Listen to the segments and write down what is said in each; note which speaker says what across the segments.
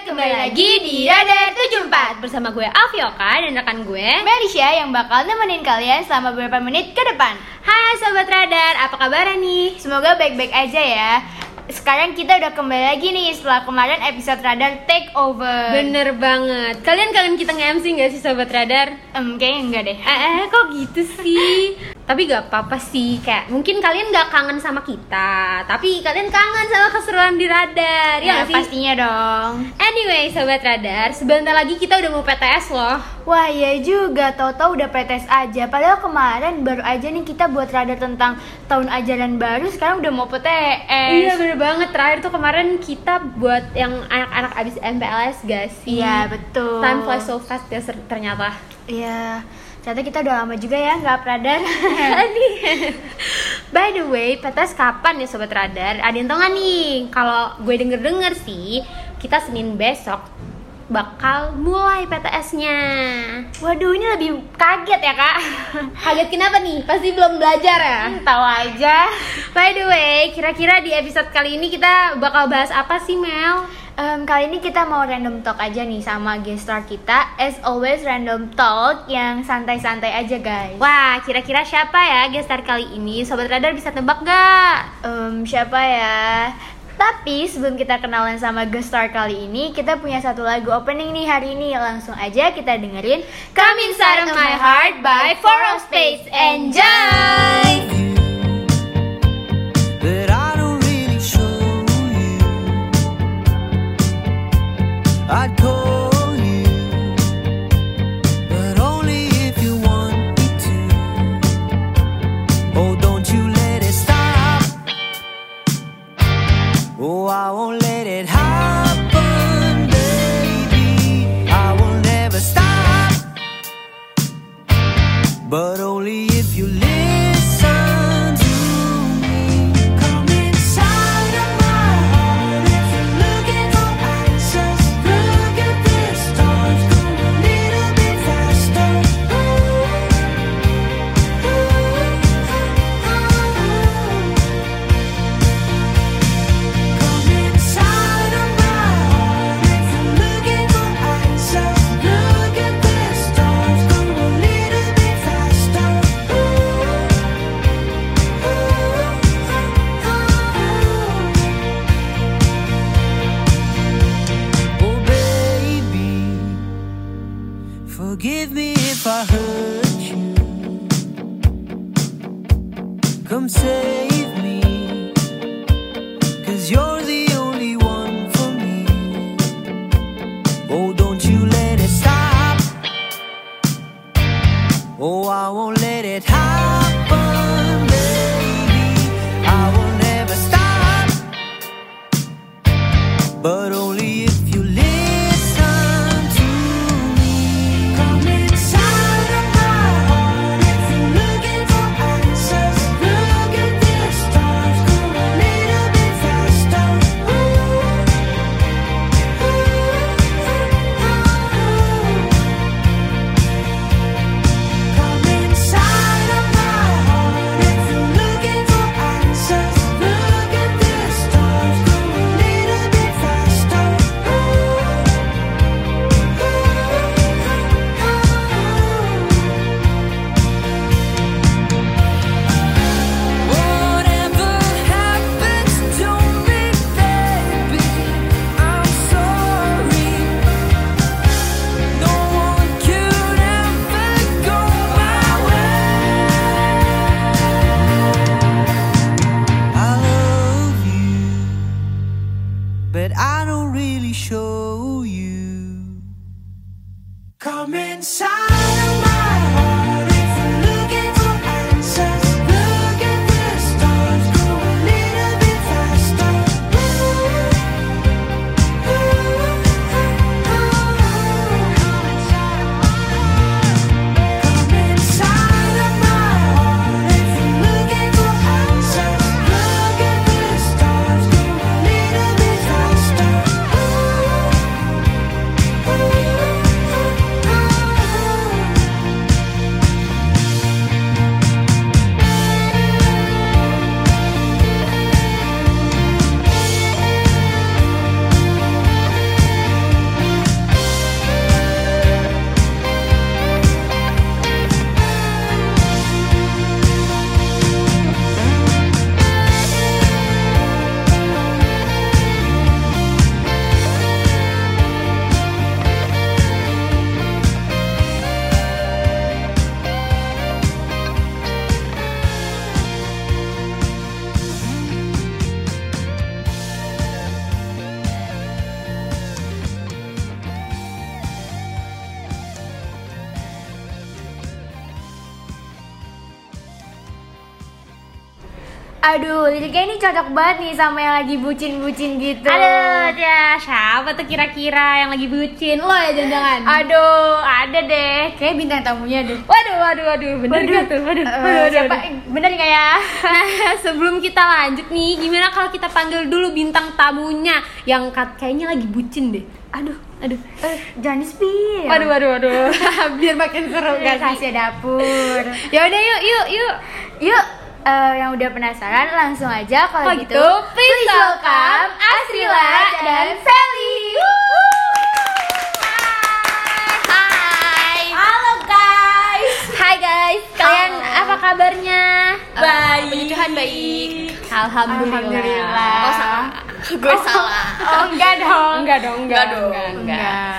Speaker 1: kembali lagi di Radar 74 Bersama gue Alfioka dan rekan gue
Speaker 2: Merisha yang bakal nemenin kalian selama beberapa menit ke depan
Speaker 1: Hai Sobat Radar, apa kabar nih?
Speaker 2: Semoga baik-baik aja ya Sekarang kita udah kembali lagi nih setelah kemarin episode Radar take over
Speaker 1: Bener banget Kalian kangen kita nge-MC gak sih Sobat Radar?
Speaker 2: Em, Kayaknya enggak deh
Speaker 1: Eh, eh kok gitu sih? tapi gak apa-apa sih Kayak mungkin kalian gak kangen sama kita Tapi kalian kangen sama keseruan di Radar Ya
Speaker 2: Ya,
Speaker 1: gak sih?
Speaker 2: pastinya dong
Speaker 1: Anyway Sobat Radar, sebentar lagi kita udah mau PTS loh
Speaker 2: Wah ya juga, Toto udah pretest aja Padahal kemarin baru aja nih kita buat radar tentang tahun ajaran baru Sekarang udah mau
Speaker 1: Iya
Speaker 2: PTS
Speaker 1: bener banget, terakhir tuh kemarin kita buat yang anak-anak abis MPLS gak sih?
Speaker 2: Iya, betul.
Speaker 1: Time flies so fast ya ser- ternyata
Speaker 2: Iya, ternyata kita udah lama juga ya nggak radar
Speaker 1: Aduh. By the way, PTS kapan ya Sobat Radar? Ada yang tau gak nih? Kalau gue denger-denger sih, kita Senin besok bakal mulai PTS-nya
Speaker 2: Waduh ini lebih kaget ya kak
Speaker 1: Kaget kenapa nih? Pasti belum belajar ya?
Speaker 2: Tahu aja
Speaker 1: By the way, kira-kira di episode kali ini kita bakal bahas apa sih Mel?
Speaker 2: Em, kali ini kita mau random talk aja nih sama guest star kita As always random talk yang santai-santai aja guys
Speaker 1: Wah, kira-kira siapa ya gestar kali ini? Sobat Radar bisa tebak gak?
Speaker 2: Em, Siapa ya? Tapi sebelum kita kenalan sama guest star kali ini Kita punya satu lagu opening nih hari ini Langsung aja kita dengerin
Speaker 1: Come inside of my heart by Forum Space. Enjoy!
Speaker 3: that I don't really show you. I'd call you, but only if you want me to. Oh, don't you let it stop. Oh, I won't let it happen, baby. I will never stop but only if you listen to me. Come inside of my heart if you're looking for answers. Look at this stars, go a little bit faster. Ooh, ooh, ooh, ooh. Come inside of my heart if you're looking for answers. Look at the stars, go a little bit faster. Oh baby, forgive me if I hurt you. Come save me. Cause you're the only one for me. Oh, don't you let it stop. Oh, I won't let it happen, baby. I will never stop. But only if you listen to me. Come inside of my heart if you're looking for answers. Look at the stars, go a little bit faster. Ooh, ooh, ooh, ooh. Come inside of my heart if you're looking for answers. Look at the stars, go a little bit faster. Whatever happens to me, baby, I'm sorry. No one could ever go my way. I love you, but I don't really show you. Come inside of my heart if you're looking for answers. Look at the stars, go a little bit faster. Come inside of my heart. Come inside of my heart if you're looking for answers. Look at the stars, go a little bit faster. Ooh. Ooh, ooh, ooh, ooh.
Speaker 2: Aduh, liriknya ini cocok banget nih sama yang lagi bucin-bucin gitu.
Speaker 1: Aduh, ya siapa tuh kira-kira yang lagi bucin lo ya jangan-jangan?
Speaker 2: Aduh, ada deh. Kayak bintang tamunya deh.
Speaker 1: Waduh, waduh, waduh, bener
Speaker 2: Waduh.
Speaker 1: nggak tuh? Waduh,
Speaker 2: Eh,
Speaker 1: waduh, waduh,
Speaker 2: siapa?
Speaker 1: waduh.
Speaker 2: Bener nggak ya?
Speaker 1: Nah, sebelum kita lanjut nih, gimana kalau kita panggil dulu bintang tamunya yang kat- kayaknya lagi bucin deh. Aduh, aduh.
Speaker 2: Eh, jangan di spill.
Speaker 1: Waduh, waduh, waduh. Biar makin seru
Speaker 2: Nggak
Speaker 1: gak
Speaker 2: rahasia
Speaker 1: sih?
Speaker 2: dapur.
Speaker 1: Ya udah yuk, yuk, yuk.
Speaker 2: Yuk, eh, yang udah penasaran langsung aja kalau
Speaker 1: Kalau gitu, please welcome Astrila dan Sally. Hai.
Speaker 2: Halo guys.
Speaker 1: Hai guys, kalian
Speaker 2: Halo.
Speaker 1: apa kabarnya?
Speaker 4: Baik. Puji Tuhan baik.
Speaker 1: Alhamdulillah.
Speaker 2: Alhamdulillah.
Speaker 4: Oh salah. Gue salah.
Speaker 2: Oh enggak dong.
Speaker 1: Enggak dong, enggak,
Speaker 4: Enggak dong.
Speaker 1: enggak, enggak.
Speaker 2: Enggak.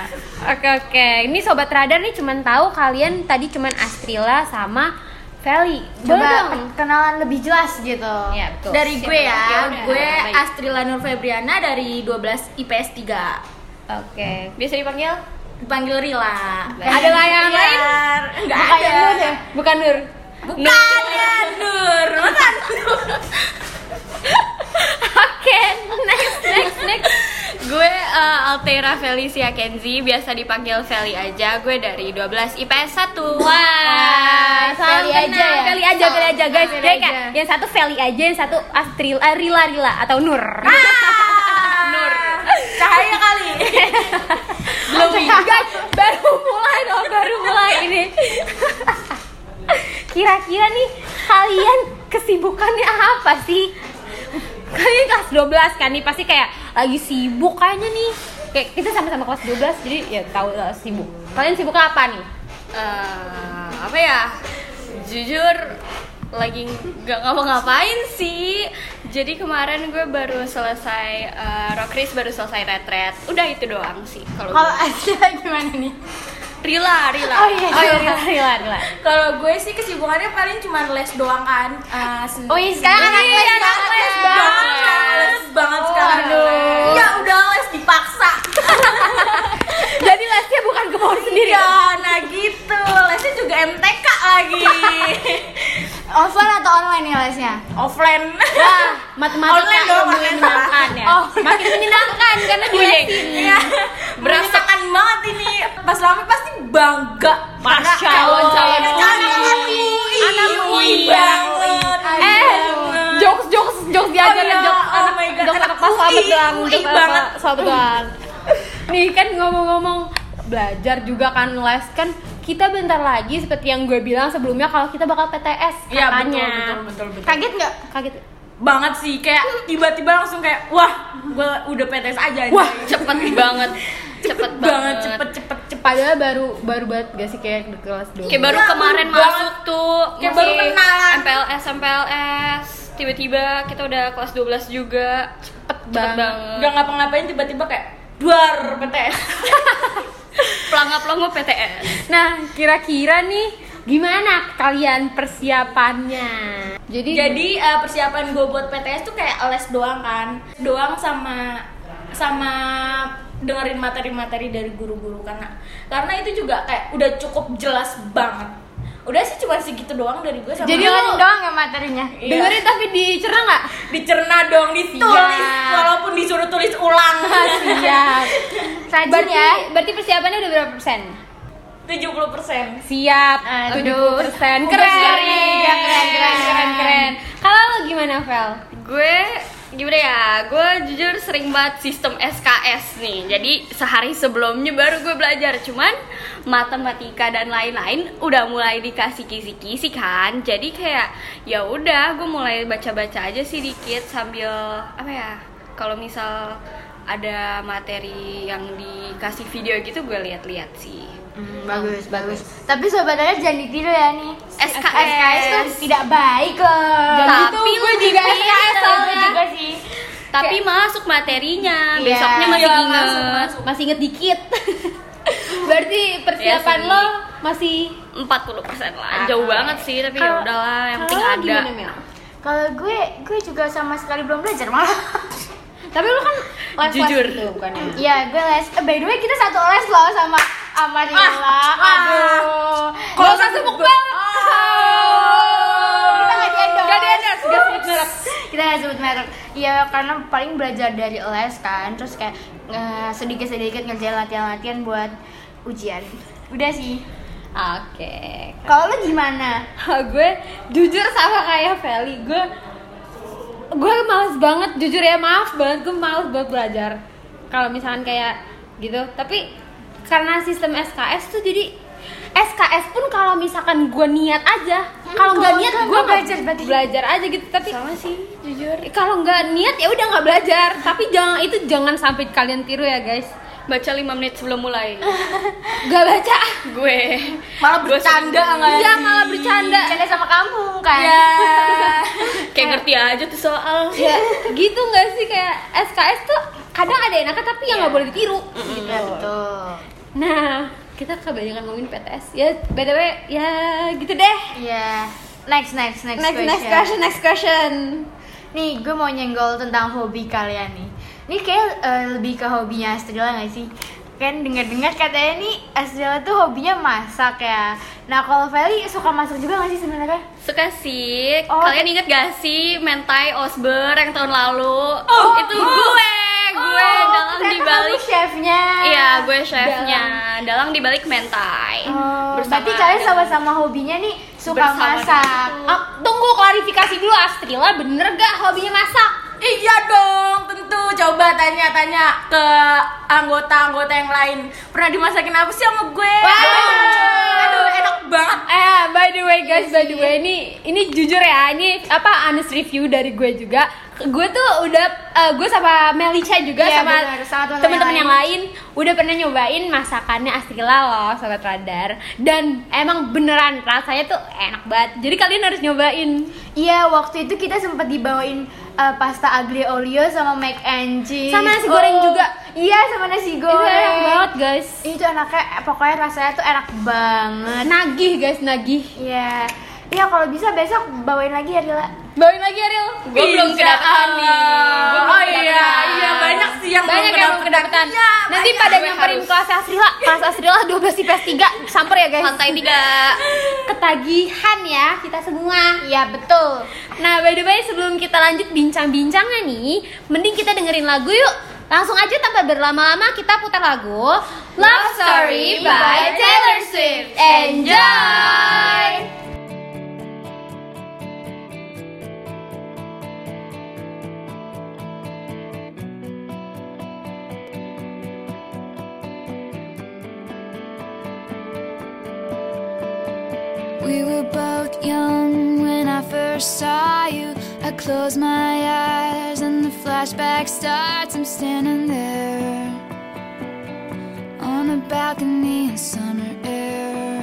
Speaker 1: Oke oke, ini sobat radar nih cuman tahu kalian tadi cuman Astrila sama Feli. Boleh
Speaker 2: Coba
Speaker 1: dong.
Speaker 2: kenalan lebih jelas gitu.
Speaker 1: Ya, betul.
Speaker 4: Dari
Speaker 1: Siap,
Speaker 4: gue ya,
Speaker 1: siap, siap.
Speaker 4: gue
Speaker 1: Baik.
Speaker 4: Astrila Nur Febriana dari 12 IPS 3
Speaker 1: Oke. Biasa dipanggil?
Speaker 4: Dipanggil Rila
Speaker 1: Baik. Ada lah yang lain?
Speaker 4: Enggak
Speaker 2: Bukan
Speaker 4: ada
Speaker 2: Nur ya?
Speaker 1: Bukan Nur.
Speaker 4: Bukan ya Nur Bukan.
Speaker 1: Oke, next next next.
Speaker 4: Gue eh, Altera Felicia Kenzi Biasa dipanggil Feli aja Gue dari 12 IPS 1
Speaker 1: Wah, salam
Speaker 2: Feli aja
Speaker 1: kenal.
Speaker 2: ya?
Speaker 1: Feli aja, Feli Ah, aja guys.
Speaker 2: Feli
Speaker 1: Jadi
Speaker 2: aja.
Speaker 1: kayak yang satu Feli aja, yang satu Astrila, eh, Rila Rila atau Nur. Ah!
Speaker 4: Nur
Speaker 2: Cahaya kali.
Speaker 4: Glowing
Speaker 1: Guys, baru mulai dong, baru mulai ini. Kira-kira nih kalian kesibukannya apa sih? Kalian kelas 12 kan nih pasti kayak lagi sibuk kayaknya nih. Kayak kita sama-sama kelas 12 jadi ya tahu lah sibuk. Kalian sibuk apa nih?
Speaker 4: Eh, apa ya jujur lagi nggak ngapa-ngapain sih jadi kemarin gue baru selesai eh, rock race baru selesai retret udah itu doang sih kalau
Speaker 2: Kalau Asia gimana nih?
Speaker 4: Rila Rila
Speaker 1: Oh iya, Rila, Rila, Rila.
Speaker 5: Kalau gue sih kesibukannya paling cuma les doang kan. Eh, sen-
Speaker 2: Oh iya, sekarang anak
Speaker 1: Iya,
Speaker 2: les
Speaker 1: anak
Speaker 2: banget
Speaker 1: les
Speaker 2: ya.
Speaker 5: banget sekarang les banget sekarang.
Speaker 1: aduh.
Speaker 5: Ya udah les dipaksa.
Speaker 1: Jadi lesnya bukan ke bawah sendiri.
Speaker 5: Ya, nah gitu. Lesnya juga MTK lagi.
Speaker 2: Offline atau online nih lesnya?
Speaker 5: Offline.
Speaker 1: Ah, Matematika
Speaker 5: Online dong,
Speaker 1: yang
Speaker 5: online.
Speaker 1: menyenangkan ya.
Speaker 2: Oh.
Speaker 1: makin menyenangkan karena dilesin.
Speaker 5: Iya. Berasakan banget ini. Pas lama pasti bangga.
Speaker 1: Masya
Speaker 5: Karena
Speaker 1: Allah.
Speaker 5: calon-calon
Speaker 1: Anak
Speaker 5: UI. Anak UI
Speaker 1: UI.
Speaker 5: banget.
Speaker 1: eh jokes jokes jokes diajarin
Speaker 5: Iya. Oh, iya.
Speaker 1: jokes
Speaker 5: Oh
Speaker 1: anak
Speaker 5: my God.
Speaker 1: jokes anak
Speaker 5: Anak
Speaker 1: pas sahabat
Speaker 5: UI,
Speaker 1: doang
Speaker 5: UI
Speaker 1: jokes anak
Speaker 5: banget.
Speaker 1: pas sahabat doang nih kan ngomong-ngomong belajar juga kan les kan kita bentar lagi seperti yang gue bilang sebelumnya kalau kita bakal PTS
Speaker 5: Iya, betul,
Speaker 1: katanya
Speaker 5: betul, betul, betul.
Speaker 1: kaget nggak kaget
Speaker 5: banget sih kayak tiba-tiba langsung kayak wah gue udah PTS aja anjay.
Speaker 1: Wah,
Speaker 4: cepet banget cepet
Speaker 5: banget
Speaker 4: banget
Speaker 5: cepet cepet cepet
Speaker 1: padahal baru baru banget gak sih kayak di kelas dua
Speaker 4: kayak baru
Speaker 5: Iya,
Speaker 4: kemarin
Speaker 5: baru banget.
Speaker 4: masuk tuh
Speaker 5: Kayak baru
Speaker 4: masih
Speaker 5: kenalan.
Speaker 4: MPLS MPLS tiba-tiba kita udah kelas 12 juga cepet,
Speaker 1: banget.
Speaker 4: cepet banget
Speaker 5: nggak ngapa-ngapain tiba-tiba kayak duar PTS
Speaker 4: pelangga-pelangga PTS
Speaker 1: nah kira-kira nih gimana kalian persiapannya jadi
Speaker 5: jadi eh, persiapan gue buat PTS tuh kayak les doang kan doang sama sama dengerin materi-materi dari guru-guru karena karena itu juga kayak udah cukup jelas banget udah sih cuma segitu doang dari gue sama
Speaker 1: Jadi
Speaker 2: Dengerin
Speaker 1: lu-
Speaker 2: doang ya materinya.
Speaker 5: Iya.
Speaker 1: dengerin tapi dicerna nggak
Speaker 5: dicerna dong ditulis
Speaker 1: Iya.
Speaker 5: walaupun disuruh tulis ulang
Speaker 1: siap
Speaker 2: Rajin
Speaker 1: berarti
Speaker 2: ya.
Speaker 1: berarti persiapannya udah berapa persen
Speaker 5: 70% persen
Speaker 1: siap
Speaker 2: Aduh.
Speaker 1: 70 persen
Speaker 2: Udah
Speaker 1: keren
Speaker 2: sering.
Speaker 1: Iya, keren keren keren keren kalau lo gimana Vel
Speaker 4: gue gimana ya gue jujur sering banget sistem SKS nih jadi sehari sebelumnya baru gue belajar cuman matematika dan lain-lain udah mulai dikasih kisi-kisi kan jadi kayak ya udah gue mulai baca-baca aja sih dikit sambil apa ya kalau misal ada materi yang dikasih video gitu gue lihat-lihat sih
Speaker 2: Hmm, bagus, bagus. Tapi sobatnya jangan ditiru ya nih.
Speaker 4: SKS.
Speaker 2: SKS tuh tidak baik loh.
Speaker 4: Tapi lu ditiru.
Speaker 2: Gue juga sih.
Speaker 4: tapi masuk materinya
Speaker 2: Iya,
Speaker 4: besoknya masih
Speaker 5: iya,
Speaker 4: inget
Speaker 1: masih inget dikit berarti persiapan
Speaker 4: Iya sih.
Speaker 1: lo masih Ah.
Speaker 4: 40% lah jauh banget sih tapi ya
Speaker 2: Kalau-
Speaker 4: udahlah yang penting
Speaker 1: Kalau lo
Speaker 4: ada
Speaker 1: gimana, Mel?
Speaker 2: Kalau gue, gue juga sama sekali belum belajar malah.
Speaker 1: tapi lo kan live
Speaker 4: Jujur.
Speaker 1: itu bukan ya?
Speaker 2: Iya, gue les. Eh, by the way, kita satu les loh sama sama Rila. Aduh.
Speaker 1: Ah, kalau Oh. saya sibuk banget
Speaker 2: Kita nggak diendorse.
Speaker 1: Nggak diendorse, nggak sebut merek.
Speaker 2: kita nggak sebut merek ya karena paling belajar dari les kan terus kayak eh, sedikit-sedikit ngerjain latihan-latihan buat ujian udah sih
Speaker 1: Oke.
Speaker 2: kalau lu gimana
Speaker 1: Kalau gue jujur sama kayak Feli, gue gue males banget jujur ya maaf banget gue males buat belajar kalau misalkan kayak gitu tapi karena sistem SKS tuh jadi SKS pun kalau misalkan gue niat aja kalau nggak
Speaker 2: kalau
Speaker 1: niat
Speaker 2: nggak,
Speaker 1: gue
Speaker 2: nggak belajar berarti.
Speaker 1: belajar aja gitu tapi
Speaker 5: sama sih jujur
Speaker 1: kalau nggak niat ya udah nggak belajar tapi jangan itu jangan sampai kalian tiru ya guys
Speaker 6: baca 5 menit sebelum mulai
Speaker 1: nggak baca
Speaker 6: gue
Speaker 5: malah bercanda nggak
Speaker 1: iya
Speaker 5: sih?
Speaker 1: malah bercanda
Speaker 2: Canda sama kamu kan
Speaker 5: ya
Speaker 6: kayak ngerti aja tuh soal
Speaker 1: ya gitu nggak sih kayak SKS tuh kadang ada enaknya tapi
Speaker 6: Iya.
Speaker 1: yang nggak boleh ditiru gitu.
Speaker 2: Iya, betul
Speaker 1: Nah kita kebanyakan ngomongin PTS ya btw ya gitu deh.
Speaker 2: Iya. Next, next, next,
Speaker 1: Next
Speaker 2: question.
Speaker 1: next question next question.
Speaker 2: Nih, gue mau nyenggol tentang hobi kalian nih. Ini kayak eh, lebih ke hobinya Astrila gak sih? Kan dengar-dengar katanya nih Astrila tuh hobinya masak ya. Nah, kalau Feli suka masak juga gak sih sebenarnya?
Speaker 6: suka sih
Speaker 2: Oh.
Speaker 6: kalian inget gak sih mentai osber yang tahun lalu
Speaker 1: Oh.
Speaker 6: itu gue gue dalang
Speaker 2: Oh, ternyata
Speaker 6: di balik
Speaker 2: kamu chefnya.
Speaker 6: iya gue chefnya dalang di balik mentai
Speaker 2: Oh,
Speaker 6: Bersama-
Speaker 2: berarti kalian sama-sama hobinya nih suka
Speaker 6: Bersama
Speaker 2: masak.
Speaker 1: Ah, tunggu klarifikasi dulu Astrila bener gak hobinya masak?
Speaker 5: iya dong tentu coba tanya-tanya ke anggota-anggota yang lain pernah dimasakin apa sih sama gue
Speaker 1: Wow.
Speaker 5: aduh enak banget
Speaker 1: Eh by the way guys by the way ini ini jujur ya ini apa honest review dari gue juga gue tuh udah eh, gue sama Melica juga
Speaker 2: Iya,
Speaker 1: sama,
Speaker 2: benar, sama teman-teman
Speaker 1: teman-teman yang
Speaker 2: yang
Speaker 1: lain udah pernah nyobain masakannya Astrila loh sobat radar dan emang beneran rasanya tuh enak banget jadi kalian harus nyobain
Speaker 2: Iya, waktu itu kita sempat dibawain eh, pasta aglio olio sama mac and cheese.
Speaker 1: Sama nasi goreng juga.
Speaker 2: Iya, sama nasi
Speaker 1: itu
Speaker 2: goreng.
Speaker 1: enak banget guys Nah,
Speaker 2: Itu enaknya eh, pokoknya rasanya tuh enak banget.
Speaker 1: nagih guys nagih
Speaker 2: Iya. Iya, kalau bisa besok bawain lagi ya, Dila.
Speaker 1: bawain lagi Ariel
Speaker 6: gue belum kedapetan nih Gue belum
Speaker 5: oh iya
Speaker 6: kedapetan.
Speaker 5: iya banyak sih yang
Speaker 1: banyak yang belum kedapetan
Speaker 5: Iya,
Speaker 1: nanti
Speaker 5: banyak.
Speaker 1: pada
Speaker 6: Gue
Speaker 1: nyamperin
Speaker 6: harus.
Speaker 1: kelas Astrila kelas Astrila 12 IPS 3 samper ya guys
Speaker 6: lantai tiga
Speaker 1: ketagihan ya kita semua.
Speaker 2: Iya, betul.
Speaker 1: Nah, by the way sebelum kita lanjut bincang-bincangnya nih, mending kita dengerin lagu yuk. Langsung aja tanpa berlama-lama kita putar lagu Love Story by Taylor Swift. Enjoy.
Speaker 3: We were both young when I first saw you. I close my eyes and the flashback starts. I'm standing there on a balcony in summer air.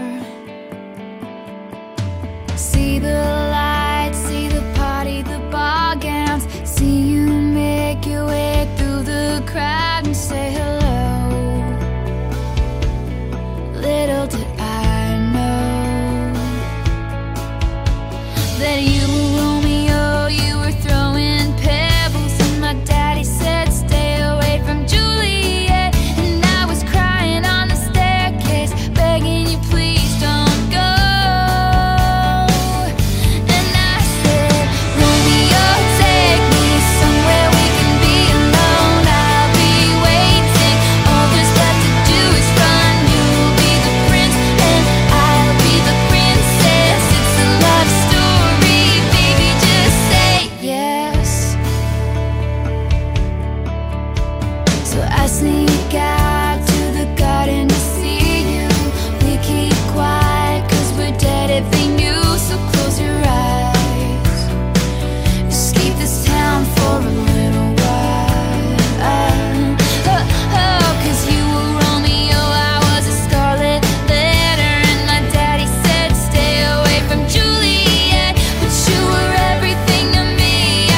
Speaker 3: See the lights, see the party, the ball gowns. See you make your way through the crowd and say hello. Little did I know that you were Romeo, you were throwing pebbles, and my daddy said, Stay away from Juliet. And I was crying on the staircase, begging you, please don't go. And I said, Romeo, take me somewhere we can be alone. I'll be waiting. All there's left to do is run. You'll be the prince, and I'll be the princess. It's a love story, baby. Just say yes. So I sneak out to the garden to see you. We keep quiet, cause we're dead if they knew. So close your eyes. Just keep this town for a little while. Oh, oh, 'cause you were Romeo, I was a scarlet letter. And my daddy said, stay away from Juliet. But you were everything to me.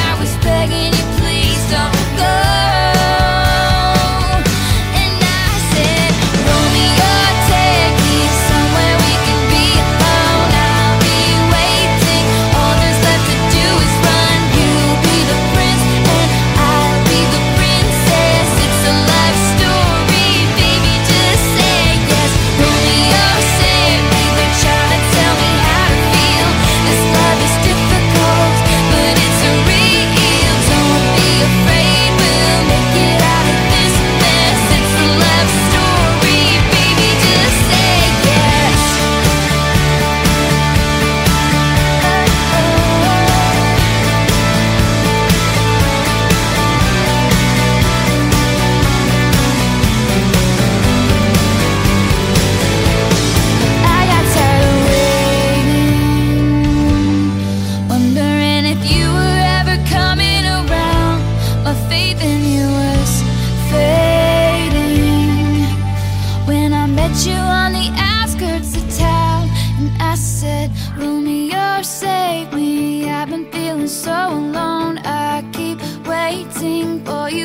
Speaker 3: I was begging you, please don't go. And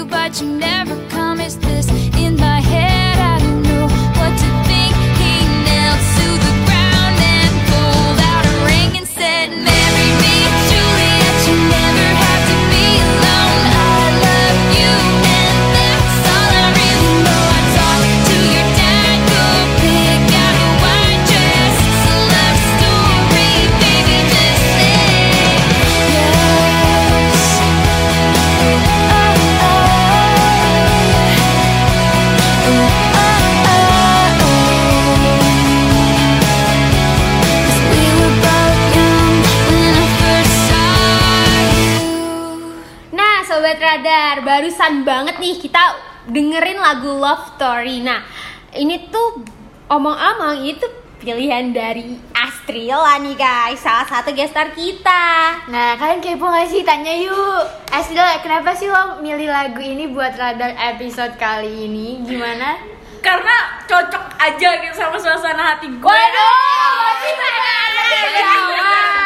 Speaker 3: but you never promised this. In my head, I don't know what to think. He knelt to the ground and pulled out a ring and said, Marry me, Juliet. You never have to be alone. I love you, and that's all I really know. I talked to your dad, go pick out a white dress. It's a love story, baby. Just say Oh, yes. oh,
Speaker 1: Nah, sobat radar, barusan banget nih kita dengerin lagu Love Story. Nah, ini tuh omong-omong itu pilihan dari Astrila nih guys, salah satu gestar kita.
Speaker 2: Nah, kalian kepo gak sih? Tanya yuk. Asli, kenapa sih lo milih lagu ini buat radar episode kali ini? Gimana?
Speaker 5: karena cocok aja gitu sama suasana hati gue. Waduh,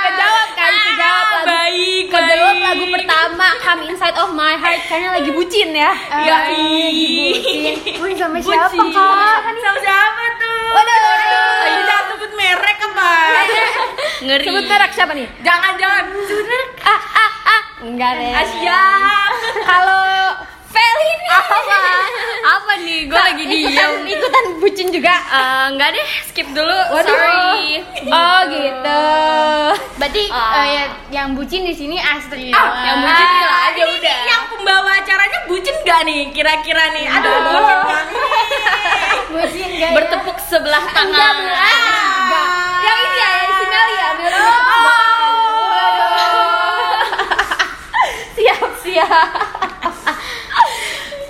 Speaker 1: Kejawab kan, kejawab lagu.
Speaker 5: baik,
Speaker 1: Kejawab
Speaker 5: baik.
Speaker 1: lagu pertama Come Inside of My Heart karena lagi bucin ya.
Speaker 5: Ya,
Speaker 2: Wih, sama siapa
Speaker 5: Bucin.
Speaker 2: kak?
Speaker 5: Sama siapa tuh?
Speaker 1: Waduh.
Speaker 5: Ayo jangan sebut merek apa?
Speaker 4: Ngeri.
Speaker 1: Sebut merek siapa nih?
Speaker 5: jangan jangan. Sebut merek.
Speaker 1: Ah ah ah. Enggak deh.
Speaker 5: Asia.
Speaker 1: Kalau Feli nih apa?
Speaker 4: Apa nih? Gue lagi
Speaker 1: ikutan,
Speaker 4: diem.
Speaker 1: ikutan bucin juga.
Speaker 4: Eh, Enggak deh, skip dulu.
Speaker 1: Waduh.
Speaker 4: Sorry.
Speaker 1: Oh gitu.
Speaker 2: Berarti
Speaker 4: Ah.
Speaker 2: eh, ya- yang bucin di sini Astrid.
Speaker 4: Yang bucin gila
Speaker 5: Ah,
Speaker 4: aja
Speaker 5: ini
Speaker 4: Ya udah.
Speaker 5: nih yang pembawa acaranya bucin gak nih kira-kira nih? Aduh, bucin banget.
Speaker 2: bucin gak ya?
Speaker 4: Bertepuk sebelah tangan.
Speaker 1: Yang ini ya, yang Sinali ya.
Speaker 4: Oh.
Speaker 1: Mil- Siap siap.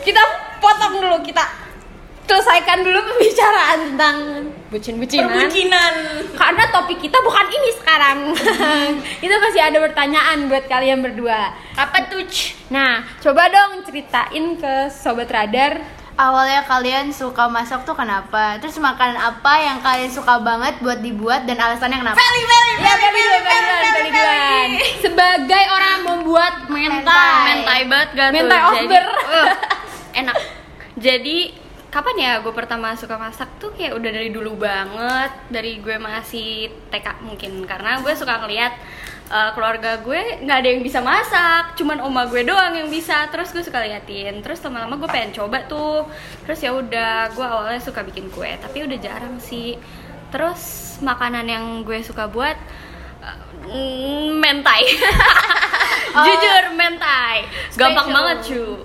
Speaker 1: kita potong dulu kita selesaikan dulu pembicaraan tentang bucin-bucinan.
Speaker 5: Perbucinan.
Speaker 1: Karena topik kita bukan ini sekarang.
Speaker 4: Hmm.
Speaker 1: Itu masih ada pertanyaan buat kalian berdua.
Speaker 4: Apa tuh? Ci?
Speaker 1: Nah, coba dong ceritain ke sobat radar.
Speaker 2: Awalnya kalian suka masak tuh kenapa? Terus makanan apa yang kalian suka banget buat dibuat dan alasannya kenapa? Iya,
Speaker 1: Ya, Feli duluan, Feli duluan, Feli duluan.
Speaker 4: Eh.
Speaker 1: Sebagai orang yang membuat
Speaker 2: Mentai.
Speaker 1: mentai.
Speaker 4: Mentai banget gak tuh?
Speaker 1: Mentai
Speaker 4: Jadi-
Speaker 1: over.
Speaker 4: Eh, enak. Jadi kapan ya gue pertama suka masak tuh kayak udah dari dulu banget dari gue masih TK mungkin karena gue suka ngeliat eh, keluarga gue nggak ada yang bisa masak cuman oma gue doang yang bisa terus gue suka liatin terus lama-lama gue pengen coba tuh terus ya udah gue awalnya suka bikin kue tapi udah jarang sih terus makanan yang gue suka buat eh, mm, mentai
Speaker 1: Oh, iya.
Speaker 4: jujur mentai gampang banget cu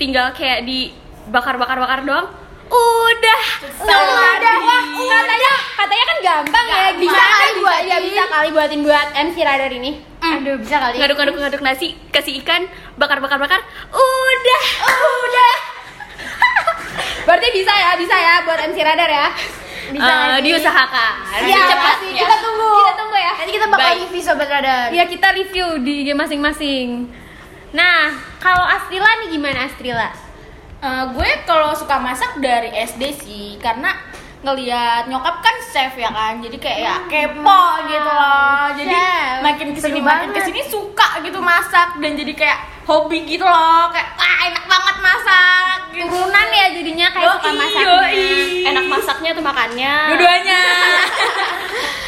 Speaker 4: tinggal kayak di bakar bakar bakar doang udah
Speaker 1: Udah, wah, katanya katanya kan gampang ya bisa kali buat ya bisa kali buatin buat MC radar ini.
Speaker 2: Aduh, bisa kali.
Speaker 4: ngaduk ngaduk ngaduk nasi kasih ikan bakar bakar bakar udah
Speaker 1: Udah. Berarti bisa ya, bisa ya buat MC radar ya.
Speaker 4: bisa Eh, diusahakan
Speaker 1: Iya,
Speaker 4: cepat ya.
Speaker 1: pasti. Kita tunggu. Kita tunggu ya.
Speaker 2: Nanti kita bakal
Speaker 4: Baik.
Speaker 2: review sobat radar.
Speaker 1: Iya, kita review di IG masing-masing. Nah, kalau Astrila nih gimana Astrila?
Speaker 5: Eh, gue kalau suka masak dari SD sih karena ngelihat nyokap kan chef ya kan jadi kayak ya kepo gitu loh jadi
Speaker 2: Hmm, Chef.
Speaker 5: makin kesini
Speaker 2: Seru
Speaker 5: makin
Speaker 2: banget.
Speaker 5: kesini suka gitu masak dan jadi kayak hobi gitu loh kayak wah enak banget masak gitu
Speaker 1: Turunan ya jadinya kayak suka
Speaker 5: Yoi,
Speaker 1: masaknya.
Speaker 5: yoi.
Speaker 4: enak masaknya tuh makannya
Speaker 5: dua-duanya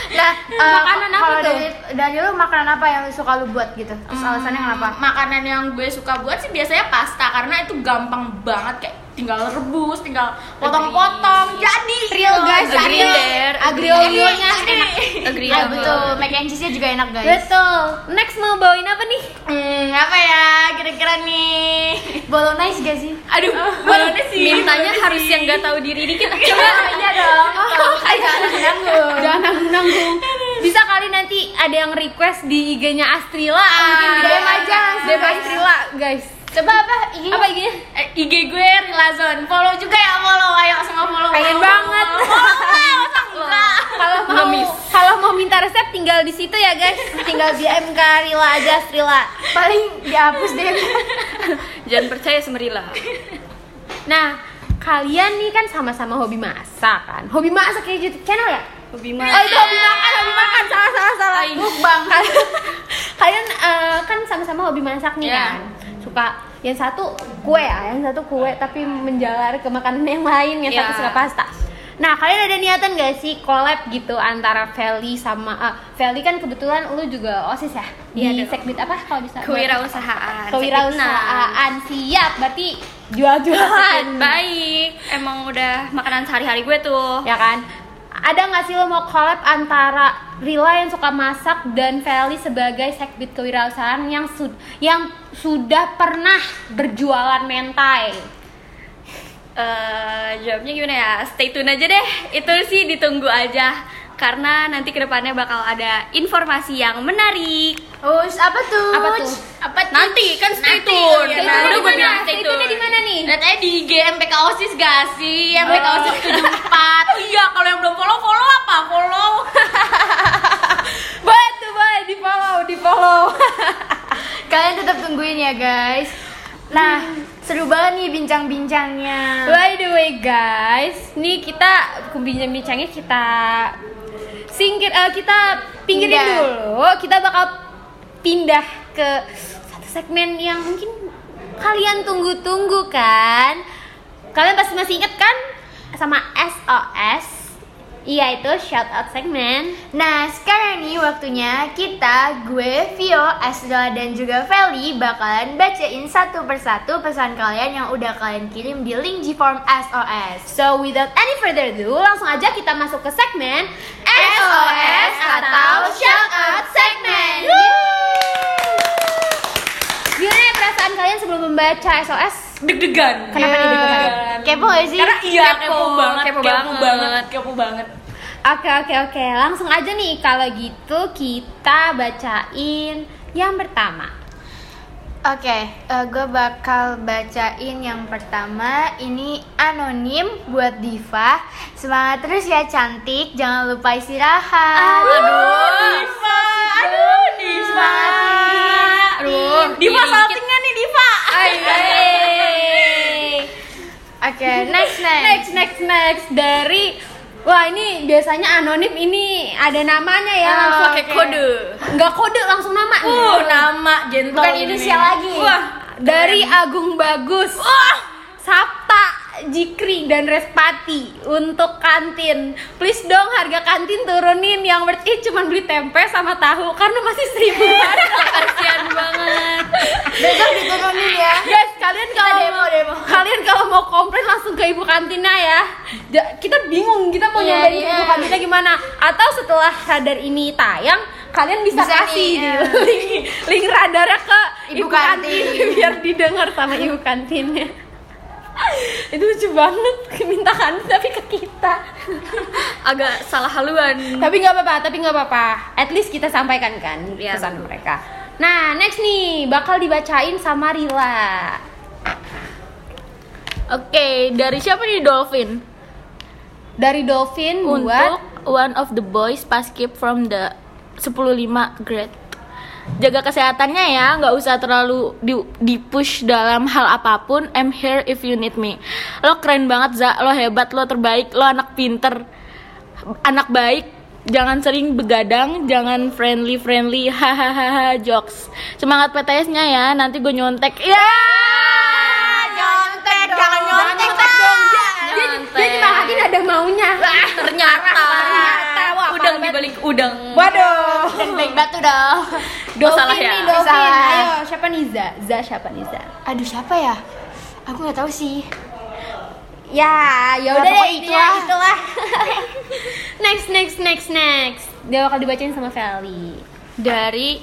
Speaker 2: Nah, eh,
Speaker 1: Makanan apa
Speaker 2: kalau
Speaker 1: tuh?
Speaker 2: Dari, dari lu makanan apa yang suka lu buat gitu? Terus alasannya kenapa?
Speaker 5: makanan yang gue suka buat sih biasanya pasta karena itu gampang banget kayak tinggal rebus tinggal potong-potong jadi
Speaker 1: Real guys,
Speaker 4: Agree
Speaker 1: real.
Speaker 4: there, agree.
Speaker 1: Agriolionya enak.
Speaker 4: agree
Speaker 2: Ah,
Speaker 4: banget.
Speaker 2: betul, mac and cheese-nya juga enak, guys.
Speaker 1: Betul. Next mau bawain apa nih?
Speaker 5: hmm, apa ya kira-kira nih Oh.
Speaker 2: Bolognese gak sih?
Speaker 5: aduh bolognese sih
Speaker 4: mintanya harus yang gak tahu diri dikit coba
Speaker 2: Iya dong.
Speaker 1: Jangan nanggung-nanggung. Bisa kali nanti ada yang request di IG-nya Astrila mungkin di
Speaker 2: DM aja langsung,
Speaker 1: DM
Speaker 2: guys.
Speaker 1: Astrila, guys.
Speaker 5: coba apa IG
Speaker 1: Apa IG-nya?
Speaker 5: Eh, IG gue Rilazon follow juga ya follow ayo semua follow
Speaker 1: Pengen
Speaker 5: follow,
Speaker 1: banget.
Speaker 5: follow follow masa enggak
Speaker 1: Kalau mau
Speaker 4: Ngemis.
Speaker 1: kalau mau minta resep tinggal di situ ya, guys. Tinggal DM ke Rila aja Astrila.
Speaker 2: Paling dihapus deh.
Speaker 4: jangan percaya sama Rila
Speaker 1: Nah, kalian nih kan sama-sama hobi masak kan. Hobi masak kayak YouTube channel ya?
Speaker 4: hobi
Speaker 1: Oh, itu
Speaker 4: masak
Speaker 1: hobi makan, hobi makan. Salah, salah, salah. Mukbang. Kalian, kalian eh, kan sama-sama hobi masak nih
Speaker 4: Iya.
Speaker 1: kan. Suka yang satu kue ya yang satu kue tapi menjalar ke makanan yang lain yang satu
Speaker 4: Iya.
Speaker 1: sudah pasta nah kalian ada niatan gak sih collab gitu antara Feli sama ah, Feli kan kebetulan lu juga osis ya di
Speaker 4: Iya dong.
Speaker 1: segmen apa kalau bisa
Speaker 4: kewirausahaan
Speaker 1: kewirausahaan siap berarti jual-jualan
Speaker 4: Sakit baik emang udah makanan Kan sehari-hari gue tuh
Speaker 1: ya kan ada nggak sih lo mau collab antara Rila yang suka masak dan Feli sebagai segbit kewirausahaan yang sud yang sudah pernah berjualan mentai
Speaker 4: Eh, jawabnya gimana ya stay tune aja deh itu sih ditunggu aja karena nanti kedepannya bakal ada informasi yang menarik
Speaker 2: Us, apa tuh?
Speaker 1: Apa tuh?
Speaker 2: Apa tuh?
Speaker 4: nanti kan stay
Speaker 7: Nanti,
Speaker 4: tune
Speaker 7: iya,
Speaker 4: Nah,
Speaker 7: nanti.
Speaker 4: udah gue
Speaker 7: Di
Speaker 4: bilang
Speaker 7: mana?
Speaker 4: stay
Speaker 7: Stay
Speaker 4: tune
Speaker 7: tune-nya di mana nih? Lihatnya di IG MPK OSIS gak sih? MPK OSIS 74
Speaker 4: Oh iya kalau yang belum follow follow apa follow
Speaker 1: boleh tuh boleh di follow di follow
Speaker 2: Kalian tetap tungguin ya guys. Nah, seru banget nih bincang-bincangnya.
Speaker 1: by the way guys nih kita bincang-bincangnya kita singkir eh, kita pinggirin
Speaker 2: Pindah.
Speaker 1: dulu kita bakal pindah ke satu segmen yang mungkin kalian tunggu-tunggu kan kalian pasti masih inget kan sama SOS iya itu shout out segmen
Speaker 2: Nah, sekarang nih waktunya kita, gue, Vio, Asdra, dan juga Feli bakalan bacain satu persatu pesan kalian yang udah kalian kirim di link G-Form SOS.
Speaker 1: so without any further ado langsung aja kita masuk ke segmen
Speaker 2: SOS atau shout out segmen.
Speaker 1: Gimana ya perasaan kalian sebelum membaca SOS?
Speaker 5: deg-degan
Speaker 1: Kenapa nih deg-degan?
Speaker 2: Eh, Kepo gak sih?
Speaker 5: karena iya kepo,
Speaker 4: Kepo,
Speaker 5: banget
Speaker 4: kepo
Speaker 5: kepo,
Speaker 4: banget.
Speaker 5: banget kepo banget
Speaker 1: Oke oke oke, langsung aja nih kalau gitu kita bacain yang pertama.
Speaker 2: Oke, eh, gue bakal bacain yang pertama. Ini anonim buat Diva. Semangat terus ya cantik, jangan lupa istirahat.
Speaker 4: aduh Diva aduh Diva aduh
Speaker 5: Diva
Speaker 4: salting nih Diva
Speaker 2: Oke, next next.
Speaker 1: Next next next dari Wah ini biasanya anonim ini ada namanya ya
Speaker 2: Oh,
Speaker 1: langsung
Speaker 4: pakai kode
Speaker 1: nggak kode langsung nama nih.
Speaker 5: uh nama gentle
Speaker 2: Bukan
Speaker 5: ini.
Speaker 2: inisial lagi.
Speaker 1: Wah, dari Agung Bagus. Sapta Jikri dan Respati untuk kantin. Please dong harga kantin turunin yang worth it cuman beli tempe sama tahu karena masih seribu.
Speaker 4: kasihan banget
Speaker 2: Besok diturunin ya.
Speaker 1: Guys, kalian kalau
Speaker 2: demo, demo.
Speaker 1: kalian kalau mau komplain langsung ke ibu kantinnya ya. Ja- kita bingung kita mau
Speaker 2: Iya,
Speaker 1: nyobain ke
Speaker 2: iya.
Speaker 1: ibu kantinnya gimana. Atau setelah radar ini tayang, kalian bisa,
Speaker 2: Bisa
Speaker 1: kasih
Speaker 2: nih,
Speaker 1: di- link, link radarnya ke
Speaker 2: Ibu
Speaker 1: ibu, kantin.
Speaker 2: kantin.
Speaker 1: biar didengar sama ibu kantinnya. Itu lucu banget minta kantin tapi ke kita.
Speaker 4: agak salah haluan
Speaker 1: Tapi nggak apa-apa, tapi nggak apa-apa. At least kita sampaikan kan
Speaker 4: Iya.
Speaker 1: pesan mereka. Nah, next nih bakal dibacain sama Rila.
Speaker 7: Oke, dari siapa nih Dolphin?
Speaker 1: dari Dolphin
Speaker 7: Untuk
Speaker 1: buat
Speaker 7: one of the boys pas skip from the 105 grade. Jaga kesehatannya ya, nggak usah terlalu di, push dalam hal apapun. I'm here if you need me. Lo keren banget Za, lo hebat, lo terbaik, lo anak pinter, anak baik. Jangan sering begadang, jangan friendly friendly, hahaha jokes. Semangat PTS-nya ya, nanti gue nyontek. Ya.
Speaker 2: Nyontek, jangan nyontek
Speaker 1: dia, dia nyemangatin ada maunya
Speaker 4: ternyata
Speaker 1: Ternyata, wah,
Speaker 4: udang
Speaker 1: parah
Speaker 4: dibalik udang
Speaker 1: waduh
Speaker 2: Dan baik batu dong.
Speaker 1: Dolphin
Speaker 4: salah ya?
Speaker 1: nih Dolphin
Speaker 2: Salah.
Speaker 1: ayo siapa nih Za Za siapa nih Za
Speaker 2: Aduh siapa ya? Aku nggak tahu sih.
Speaker 1: ya ya udah
Speaker 2: pokoknya
Speaker 1: deh itulah
Speaker 2: itulah.
Speaker 1: itulah next next next next dia bakal dibacain sama Feli
Speaker 4: dari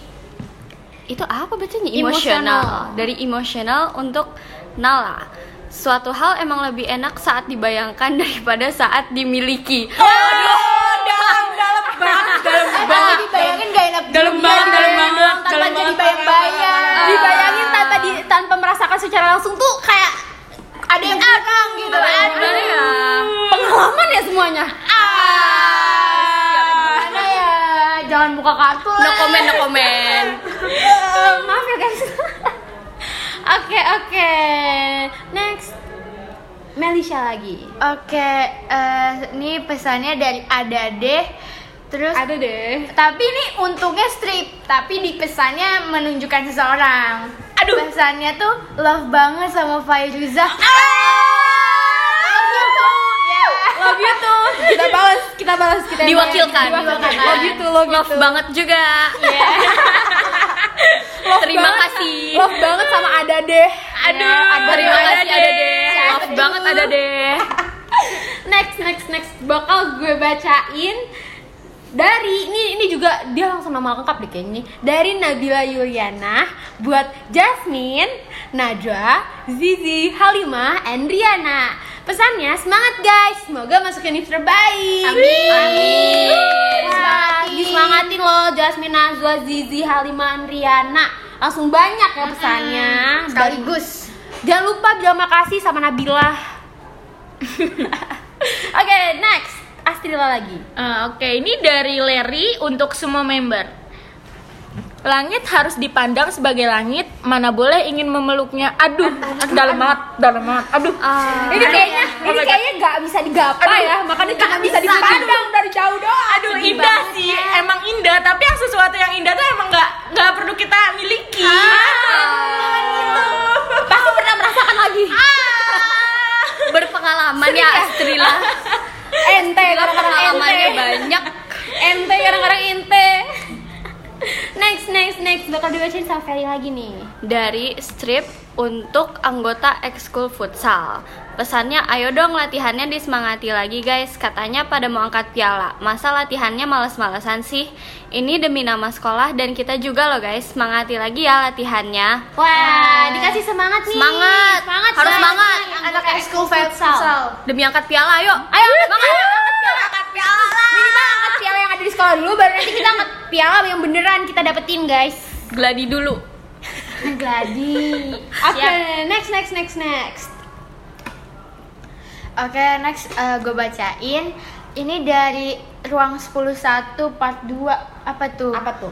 Speaker 4: itu apa bacanya
Speaker 1: Emotional.
Speaker 4: emosional dari emosional untuk Nala suatu hal emang lebih enak saat dibayangkan daripada saat dimiliki
Speaker 1: Oh,
Speaker 2: Emang lebih bayangin gak enak
Speaker 5: Dalam banget, dalam banget,
Speaker 2: Tanpa
Speaker 5: dalam
Speaker 2: jadi
Speaker 5: banget, Ah.
Speaker 2: bayang-bayang
Speaker 1: dibayangin tanpa di, tanpa merasakan secara langsung tuh kayak
Speaker 2: Ada yang kurang gitu
Speaker 4: Gimana
Speaker 5: iya.
Speaker 4: ya?
Speaker 1: pengalaman ya semuanya
Speaker 5: Ah.
Speaker 2: Gimana ya? Jangan buka kartu
Speaker 4: no
Speaker 2: lah
Speaker 4: comment no comment
Speaker 1: Eh, maaf ya guys oke oke next Melisha lagi
Speaker 2: Oke, eh, ini pesannya dari Adade Terus
Speaker 1: ada deh
Speaker 2: Tapi ini untungnya strip Tapi di pesannya menunjukkan seseorang
Speaker 8: Aduh.
Speaker 2: pesannya tuh love banget sama Ah! Fairuza
Speaker 3: Ah! Love you tuh. Kita balas, kita balas, kita
Speaker 8: diwakilkan.
Speaker 3: Love you tuh, love you
Speaker 8: Love
Speaker 3: too.
Speaker 8: banget juga. Terima kasih.
Speaker 3: Love banget sama ada deh. Ya,
Speaker 8: Aduh,
Speaker 1: Ya,
Speaker 8: terima kasih ada deh. Love banget ada deh.
Speaker 1: next next next bakal gue bacain dari ini ini juga dia langsung nama lengkap deh kayaknya dari Nabila Yuliana buat Jasmine, Najwa, Zizi, Halimah, and Riana. Pesannya semangat guys, semoga masuk univ terbaik. Amin. Wah, disemangatin loh Jasmine, Najwa, Zizi, Halimah, and Riana. Langsung banyak ya pesannya. Sekaligus. Jangan lupa bilang makasih sama Nabila. Oke, next. Astrila lagi.
Speaker 5: Eh, Oke, ini dari Larry untuk semua member. Langit harus dipandang sebagai langit, mana boleh ingin memeluknya. Aduh, dalam banget, dalam banget. Aduh.
Speaker 1: Ah.
Speaker 3: Ini kayaknya, ini kayaknya nggak bisa digapai ya. Makanya cuma bisa dipandang dari jauh doang.
Speaker 5: Aduh, indah sih. Emang indah, tapi yang sesuatu yang indah tuh emang nggak nggak perlu kita miliki.
Speaker 1: Pasti pernah merasakan lagi.
Speaker 8: Berpengalaman ya Astrila.
Speaker 1: Ente, kadang-kadang
Speaker 8: Pengalamannya
Speaker 1: ente.
Speaker 8: banyak.
Speaker 1: Ente, kadang-kadang ente. Next, next, next. Bakal dibacain sama Feli lagi nih.
Speaker 8: dari strip untuk anggota ekskul futsal. Pesannya, ayo dong latihannya disemangati lagi guys. Katanya pada mau angkat piala. Masa latihannya males-malesan sih? Ini demi nama sekolah dan kita juga loh guys. Semangati lagi ya latihannya.
Speaker 1: Wah, dikasih semangat nih.
Speaker 8: Semangat.
Speaker 1: Semangat,
Speaker 8: Harus
Speaker 1: guys.
Speaker 8: semangat.
Speaker 1: Anak ekskul
Speaker 2: futsal.
Speaker 8: Demi angkat piala, ayo.
Speaker 1: Ayo, semangat. Angkat piala lah. Minimal angkat piala yang ada di sekolah dulu, baru nanti kita angkat piala yang beneran kita dapetin, guys.
Speaker 8: Gladi dulu.
Speaker 1: Gladi. Oke, next, next, next, next.
Speaker 2: Oke, next eh, gue bacain. Ini dari ruang 101 part 2 apa tuh?
Speaker 3: Apa tuh?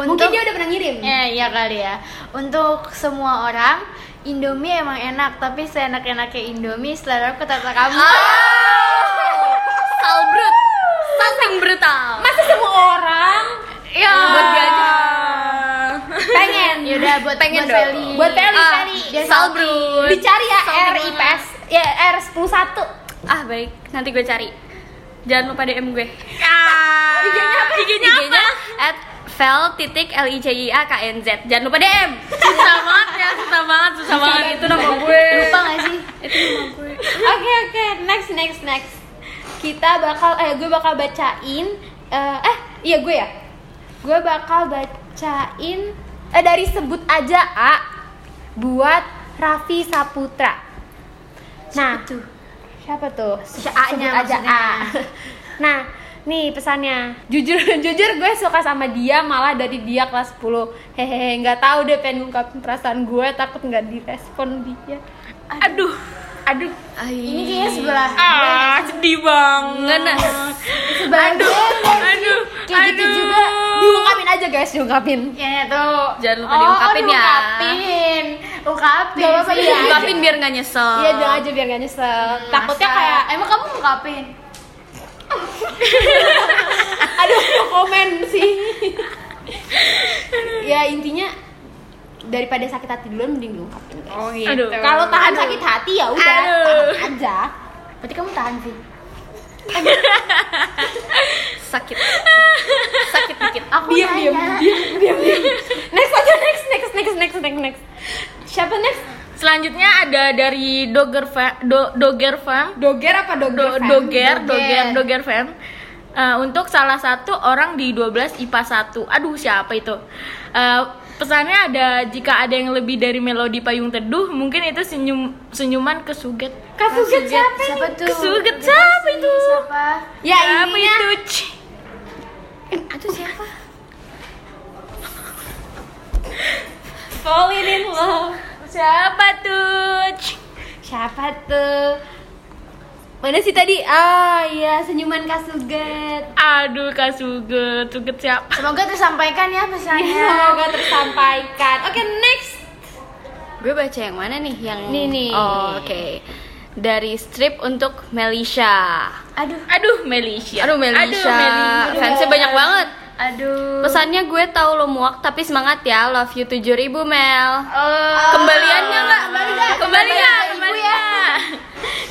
Speaker 2: Untuk
Speaker 1: Mungkin dia udah pernah ngirim.
Speaker 2: Ya, iya kali ya. Untuk semua orang, Indomie emang enak, tapi seenak-enaknya Indomie selera aku tetap kamu.
Speaker 8: Salbrut. Salting brutal.
Speaker 3: Masa semua orang
Speaker 8: Ya. Buat gajah.
Speaker 3: pengen
Speaker 2: Yaudah buat
Speaker 8: Pengen
Speaker 2: buat
Speaker 8: dong.
Speaker 2: Feli.
Speaker 3: Buat Feli,
Speaker 8: Ah,
Speaker 3: Feli.
Speaker 2: Dia
Speaker 8: salbrut.
Speaker 3: Dicari ya
Speaker 8: Salting
Speaker 3: R IPS ya R 101.
Speaker 8: Ah baik, nanti gue cari. Jangan lupa DM gue.
Speaker 1: Ah.
Speaker 3: IG-nya apa?
Speaker 8: IG-nya apa? At fel titik l i c i a k n z. Jangan lupa DM. Susah banget ya, susah banget, susah banget itu nama gue.
Speaker 2: Lupa gak sih?
Speaker 1: Oke oke, next next next. Kita bakal eh gue bakal bacain eh, eh iya gue ya. Gue bakal bacain eh dari sebut aja A buat Raffi Saputra. Nah, siapa tuh?
Speaker 2: A-nya
Speaker 1: Sebut aja A. Nah, nih pesannya. Jujur jujur gue suka sama dia malah dari dia kelas 10. Hehehe, nggak tahu deh pengen ngungkapin perasaan gue takut nggak direspon dia.
Speaker 8: Aduh.
Speaker 1: Aduh,
Speaker 2: Ini kayaknya sebelah.
Speaker 8: Ah, sedih banget.
Speaker 2: Sebelah gue.
Speaker 8: Aduh.
Speaker 2: Kayak gitu juga.
Speaker 1: diungkapin aja guys, diungkapin.
Speaker 2: Ya tuh. Oh,
Speaker 8: Jangan lupa diungkapin ya.
Speaker 2: Ungkapin. Ungkapin.
Speaker 1: Gak apa-apa,
Speaker 2: sih.
Speaker 1: iya.
Speaker 8: Ungkapin biar gak nyesel.
Speaker 1: Iya, jangan aja biar gak nyesel.
Speaker 8: Hmm,
Speaker 1: Takutnya
Speaker 2: Masa?
Speaker 1: kayak
Speaker 2: emang kamu ungkapin?
Speaker 1: aduh no komen sih. ya intinya daripada sakit hati duluan mending diungkapin guys.
Speaker 8: Oh, gitu. Aduh.
Speaker 1: Kalau tahan sakit hati ya udah
Speaker 8: Aduh.
Speaker 1: tahan aja.
Speaker 2: Berarti kamu tahan sih.
Speaker 8: sakit. Sakit dikit.
Speaker 2: Aku
Speaker 1: Diam
Speaker 2: nanya.
Speaker 1: diam diam diam diam. Next aja next next next next next next. Siapa next?
Speaker 5: Selanjutnya ada dari Doger Fa- Do- Doger Farm
Speaker 3: Doger apa doger?
Speaker 5: Do-
Speaker 3: Fan?
Speaker 5: Doger,
Speaker 2: Doger.
Speaker 5: Doger, Doger Fam. Eh, untuk salah satu orang di 12 IPA 1. Aduh, siapa itu? Eh, pesannya ada jika ada yang lebih dari melodi payung teduh, mungkin itu senyum senyuman kesuget.
Speaker 1: Kasuget siapa?
Speaker 2: Siapa tuh?
Speaker 5: Kesuget siapa itu?
Speaker 2: Siapa?
Speaker 1: Ya
Speaker 5: Siapa
Speaker 1: intinya
Speaker 5: itu? Ci?
Speaker 1: falling in love.
Speaker 5: Siapa tuh? Ci?
Speaker 1: Siapa tuh? Mana sih tadi? Ah, iya senyuman Kasuget.
Speaker 5: Aduh, Kasuget. Suget siapa?
Speaker 2: Semoga tersampaikan ya pesannya.
Speaker 1: Semoga Iya, tersampaikan. Oke, next.
Speaker 8: Gue baca yang mana nih? Yang
Speaker 1: Nih, nih.
Speaker 8: Oh, Oke. Dari strip untuk Melisha.
Speaker 2: Aduh.
Speaker 5: Aduh, Melisha.
Speaker 8: Aduh Melisha,
Speaker 5: Aduh, Melisha.
Speaker 8: fansnya banyak banget.
Speaker 2: Aduh.
Speaker 4: Pesannya gue tahu lo muak tapi semangat ya. Love you 7000 Mel.
Speaker 2: Eh,
Speaker 4: Kembaliannya nggak? Kembali nggak? Ah. Kembali nggak? Kembali ya.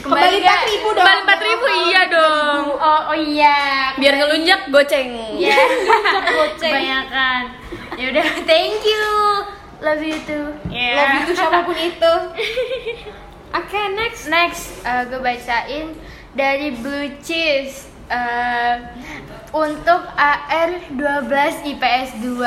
Speaker 5: Kembali
Speaker 2: nggak?
Speaker 5: 4.000 dong.
Speaker 4: Kembali 4000 iya dong.
Speaker 2: Oh, oh iya.
Speaker 4: Biar ngelunjak goceng.
Speaker 2: Iya. Kebanyakan. Ya udah, thank you. Love you too.
Speaker 5: Love you siapapun itu.
Speaker 2: Oke, next. Next, eh, gue bacain dari Blue Cheese. Eh, untuk AR 12 IPS 2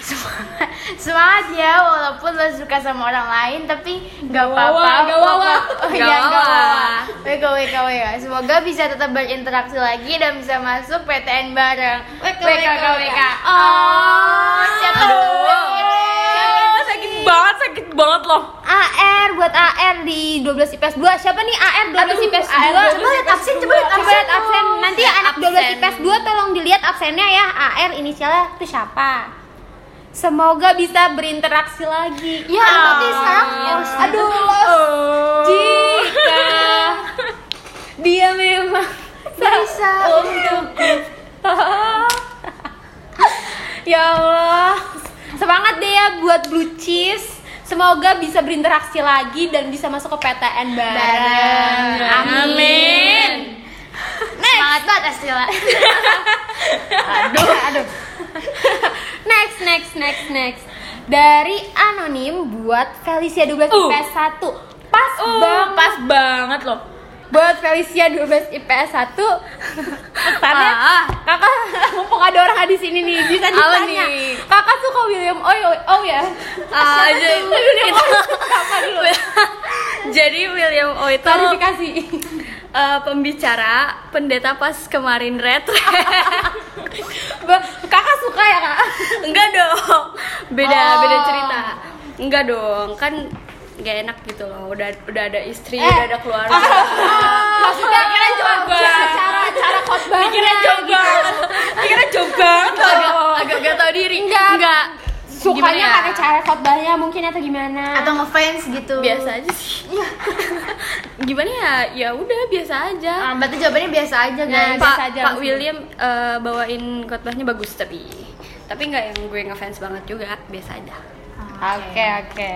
Speaker 2: Semangat, semangat ya walaupun lo suka sama orang lain tapi nggak apa-apa
Speaker 4: gak wawa.
Speaker 2: Oh
Speaker 4: Gak
Speaker 2: iya, gak
Speaker 4: wawa.
Speaker 2: wawa. WK WK WK. Semoga bisa tetap berinteraksi lagi dan bisa masuk PTN bareng WK WK WK, Oh siapa dulu?
Speaker 4: sakit banget, sakit banget loh.
Speaker 1: AR buat AR di 12 IPS 2. Siapa nih AR 12 IPS 2? coba lihat absen, coba lihat absen. absen. Nanti ya anak 12 IPS 2 tolong dilihat absennya ya. AR inisialnya itu siapa? Semoga bisa berinteraksi lagi. Kan
Speaker 2: Ya, tapi sekarang
Speaker 1: Iya.
Speaker 5: Aduh, los.
Speaker 1: Jika dia memang
Speaker 2: bisa.
Speaker 1: Iya. Oh. ya Allah. Semangat deh ya buat Blue Cheese. Semoga bisa berinteraksi lagi dan bisa masuk ke PTN bareng.
Speaker 4: Amin.
Speaker 2: Semangat banget Astila.
Speaker 1: Aduh, aduh. next, next, next, next. Dari anonim buat Felicia 12
Speaker 4: Uh.
Speaker 1: IPS 1. Pas banget
Speaker 4: pas banget loh.
Speaker 1: buat Felicia 12 IPS 1. Pesannya
Speaker 4: Ah.
Speaker 1: Kakak mumpung ada orang di sini nih, bisa
Speaker 4: Apa
Speaker 1: ditanya.
Speaker 4: nih?
Speaker 1: Kakak suka William Oi Oi Oh ya.
Speaker 4: Ah, jadi,
Speaker 1: William Oi apa dulu?
Speaker 4: jadi William O itu
Speaker 1: Klarifikasi.
Speaker 4: eh, pembicara pendeta pas kemarin retret.
Speaker 1: Ba- Kakak suka ya, Kak?
Speaker 4: Enggak dong. Beda
Speaker 1: Oh.
Speaker 4: beda cerita. Enggak dong. Kan gak enak gitu loh. Udah udah ada istri,
Speaker 1: Eh.
Speaker 4: udah ada keluarga.
Speaker 1: Maksudnya kira
Speaker 4: coba.
Speaker 1: Cara cara khotbah.
Speaker 4: Dikira job banget. Dikira job banget loh. Agak agak gak tau diri.
Speaker 1: Enggak.
Speaker 4: Enggak. Gimana
Speaker 1: Sukanya
Speaker 4: ya?
Speaker 1: karena cara khotbahnya mungkin atau gimana?
Speaker 2: Atau ngefans gitu.
Speaker 4: biasa aja sih. Gimana ya? Ya udah biasa aja.
Speaker 2: Ah, berarti jawabannya biasa aja
Speaker 1: Nah,
Speaker 2: guys.
Speaker 1: biasa
Speaker 4: Pak,
Speaker 1: aja
Speaker 4: Pak
Speaker 1: langsung.
Speaker 4: William eh, bawain khotbahnya bagus tapi tapi nggak yang gue ngefans banget juga biasa aja.
Speaker 1: Oke oke.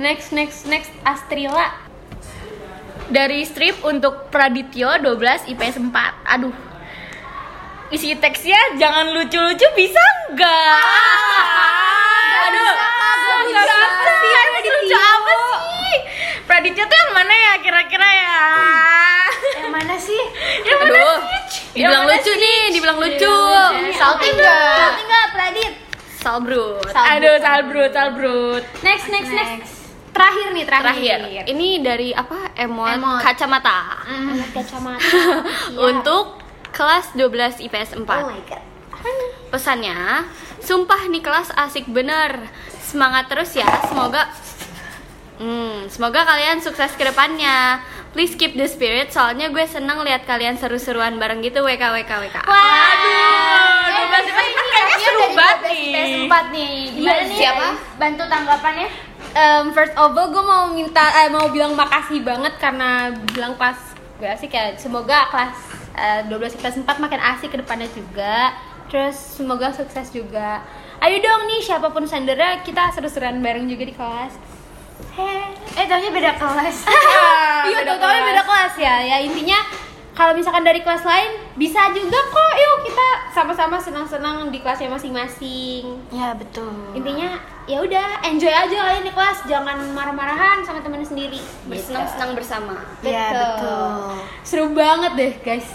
Speaker 1: Next next next Astrila.
Speaker 7: Dari strip untuk Pradityo 12 IPS 4. Aduh. Isi teksnya jangan lucu-lucu bisa
Speaker 4: Ah,
Speaker 7: nggak? Aduh. Nggak bisa. Ini
Speaker 4: Iya.
Speaker 7: lucu apa sih? Pradityo tuh yang mana ya kira-kira ya?
Speaker 2: Yang Eh, mana sih?
Speaker 7: Yang mana
Speaker 4: Aduh,
Speaker 7: sih? Iya,
Speaker 4: dibilang lucu nih, dibilang lucu.
Speaker 1: Iya,
Speaker 2: Salting enggak?
Speaker 1: Tinggal Pradit.
Speaker 4: Salbrut.
Speaker 7: Aduh, salbrut, salbrut.
Speaker 1: Next next next. Terakhir nih terakhir.
Speaker 4: Terakhir, Iya, ini dari apa? Emot,
Speaker 2: Emot.
Speaker 4: kacamata.
Speaker 2: Mm.
Speaker 1: Anak kacamata. Iya.
Speaker 4: Untuk kelas 12 IPS 4.
Speaker 1: Oh my god.
Speaker 4: Pesannya, sumpah nih kelas asik bener. Semangat terus ya, semoga Hmm, semoga kalian sukses ke depannya. Please keep the spirit, soalnya gue seneng lihat kalian seru-seruan bareng gitu WK WK WK.
Speaker 2: Waduh,
Speaker 4: dua belas IPS empat kayaknya seru banget nih.
Speaker 2: IPS 4 nih. Gimana
Speaker 1: Iya,
Speaker 2: nih?
Speaker 1: siapa?
Speaker 2: Bantu tanggapannya.
Speaker 1: Em, Um, first of all, gue mau minta eh, mau bilang makasih banget karena bilang kelas gue asik ya. Semoga kelas eh, 12 kelas 4 makin asik ke depannya juga. Terus semoga sukses juga. Ayo dong nih siapapun sandera kita seru-seruan bareng juga di kelas.
Speaker 2: Eh, taunya beda kelas.
Speaker 1: Iya, totalnya beda kelas ya. Ya intinya kalau misalkan dari kelas lain bisa juga kok. Yuk kita sama-sama senang-senang di kelasnya masing-masing.
Speaker 2: Ya, betul.
Speaker 1: Intinya ya udah enjoy aja kalian di kelas, jangan marah-marahan sama temen sendiri.
Speaker 4: Bersenang-senang bersama.
Speaker 2: Iya, betul.
Speaker 1: Seru banget deh, guys.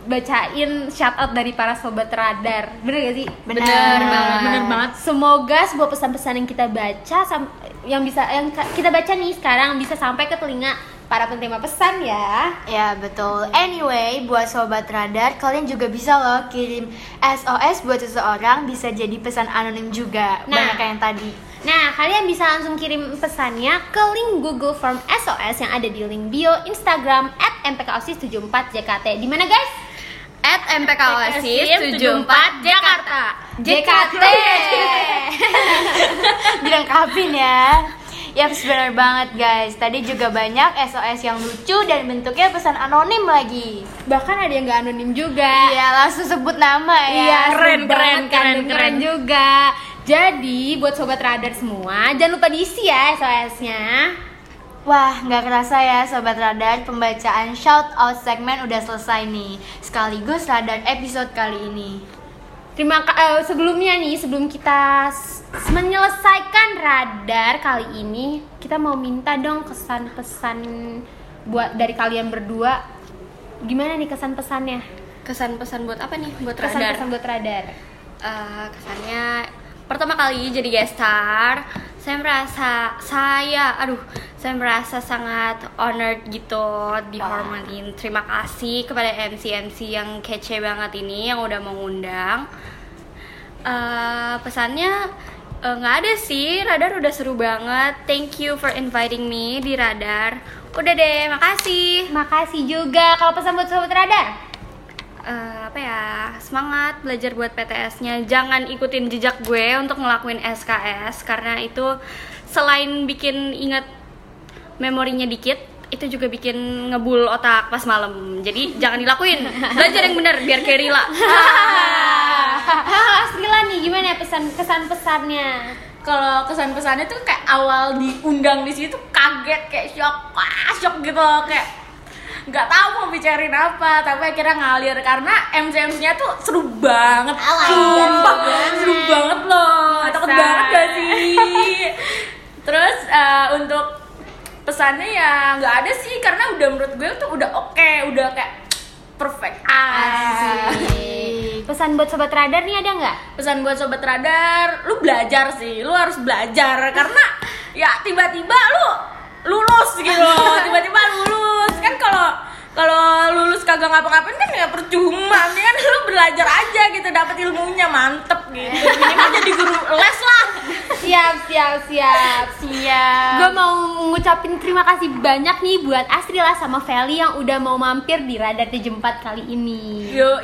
Speaker 1: Bacain shout out dari para sobat radar. Bener gak sih?
Speaker 2: Bener Bener banget.
Speaker 1: Bener banget. Semoga sebuah pesan-pesan yang kita baca sam- yang bisa yang ka- kita baca nih sekarang bisa sampai ke telinga para penerima pesan ya.
Speaker 2: Ya betul. Anyway, buat sobat radar, kalian juga bisa loh kirim SOS buat seseorang bisa jadi pesan anonim juga.
Speaker 1: Nah.
Speaker 2: Banyak kayak yang tadi.
Speaker 1: Nah, kalian bisa langsung kirim pesannya ke link Google Form SOS yang ada di link bio Instagram at mpkosis74jkt. Di mana guys?
Speaker 4: At MPK Oasis 74 Jakarta.
Speaker 1: JKT.
Speaker 2: Dilengkapin ya. Yap, benar banget guys. Tadi juga banyak SOS yang lucu dan bentuknya pesan anonim lagi.
Speaker 1: Bahkan ada yang nggak anonim juga.
Speaker 2: Iya, langsung sebut nama ya.
Speaker 1: Iya,
Speaker 9: keren,
Speaker 1: keren,
Speaker 9: keren,
Speaker 1: keren, keren,
Speaker 9: keren.
Speaker 1: juga. Jadi buat sobat radar semua, jangan lupa diisi ya SOS-nya.
Speaker 2: Wah, nggak kerasa ya Sobat Radar, pembacaan shout out segmen udah selesai nih. Sekaligus Radar episode kali ini.
Speaker 1: Terima ka- eh, sebelumnya nih, sebelum kita s- menyelesaikan radar kali ini, kita mau minta dong kesan-pesan buat dari kalian berdua. Gimana nih kesan-pesannya?
Speaker 9: Kesan-pesan buat apa nih? Buat radar?
Speaker 1: Kesan-pesan buat radar.
Speaker 9: Eh, kesannya pertama kali jadi guest star saya merasa saya aduh saya merasa sangat honored gitu dihormatin terima kasih kepada MC MC yang kece banget ini yang udah mengundang Eh, pesannya eh, nggak ada sih radar udah seru banget thank you for inviting me di radar udah deh makasih
Speaker 1: Makasih juga kalau pesan buat sobat radar.
Speaker 9: Eh, apa ya semangat belajar buat PTS-nya jangan ikutin jejak gue untuk ngelakuin SKS karena itu selain bikin ingat memorinya dikit itu juga bikin ngebul otak pas malam jadi jangan dilakuin belajar yang benar biar kayak Rila
Speaker 1: Ah, Srila nih gimana pesan kesan-pesannya?
Speaker 5: kalau kesan pesannya tuh kayak awal diundang di situ kaget kayak shock wah shock gitu loh kayak nggak tahu mau bicarain apa tapi akhirnya ngalir karena MCMC nya tuh seru banget sumpah seru banget loh takut banget gak sih terus eh, untuk pesannya ya nggak ada sih karena udah menurut gue tuh udah oke udah kayak perfect ah
Speaker 1: Pesan buat sobat radar nih ada nggak?
Speaker 5: pesan buat sobat radar lu belajar sih lu harus belajar karena ya tiba-tiba lu lulus gitu loh tiba-tiba lulus kan kalau kalau lulus kagak ngapa-ngapain kan ya percuma mendingan lu belajar aja gitu dapat ilmunya mantep gitu minimal jadi guru les lah
Speaker 1: Siap, siap, siap.
Speaker 2: Siap.
Speaker 1: Gue mau ngucapin terima kasih banyak nih buat Astrila sama Feli yang udah mau mampir di Radar 74 kali ini.
Speaker 5: yo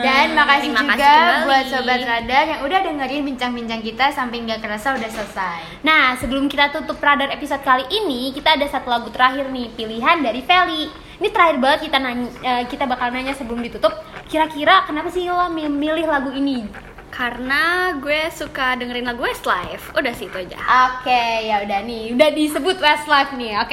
Speaker 1: Hmm,
Speaker 2: Dan makasih
Speaker 9: Terima kasih
Speaker 2: juga
Speaker 9: kembali.
Speaker 2: buat Sobat Radar yang udah dengerin bincang-bincang kita sampai nggak kerasa udah selesai.
Speaker 1: Nah, sebelum kita tutup Radar episode kali ini, kita ada satu lagu terakhir nih, pilihan dari Feli. Ini terakhir banget kita nanya, eh, kita bakal nanya sebelum ditutup. Kira-kira kenapa sih lo memilih lagu ini?
Speaker 9: karena gue suka dengerin lagu Westlife udah sih itu aja
Speaker 1: Oke, ya udah nih, udah disebut Westlife nih, oke?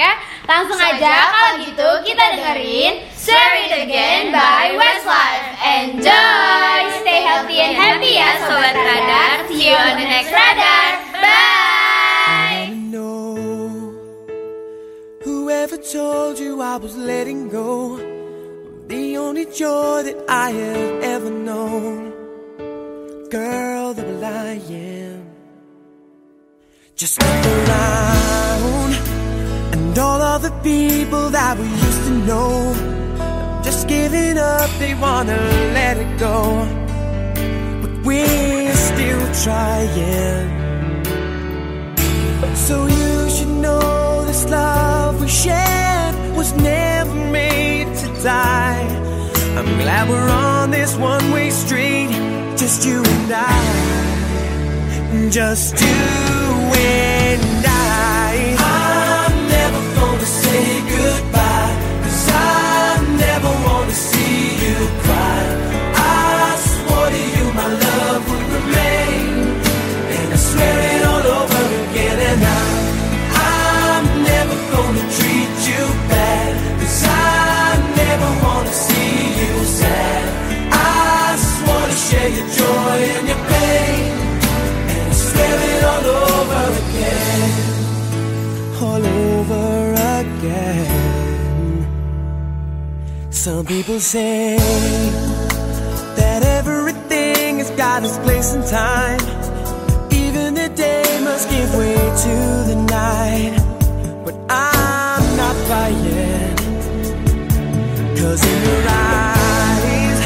Speaker 2: Langsung
Speaker 1: Langsung aja
Speaker 9: ya,
Speaker 2: aja,
Speaker 1: kalau
Speaker 2: kalau
Speaker 1: gitu
Speaker 2: gitu
Speaker 1: kita
Speaker 2: kita
Speaker 1: dengerin
Speaker 2: dengerin
Speaker 1: Share It Again by Westlife. Enjoy, stay healthy and happy ya sobat radar. See you on the next radar. Bye.
Speaker 10: wanna know whoever told you I was letting go of the only joy that I have ever known girl the I am just look around and all of the people that we used to know have just giving up they wanna let it go but we're still trying so you should know this love we shared was never made to die. I'm glad we're on this one way street, just you and I. Just you and I. I'm never gonna say goodbye, cause I never wanna see you cry. I swore to you my love would remain. And I swear it all over again And I, I'm never gonna treat you bad Cause I never wanna see you sad I just wanna share your joy and your pain And I swear it all over again All over again Some people say that everything has got its place and time. Even the day must give way to the night. But I'm not buying. Cause in your eyes,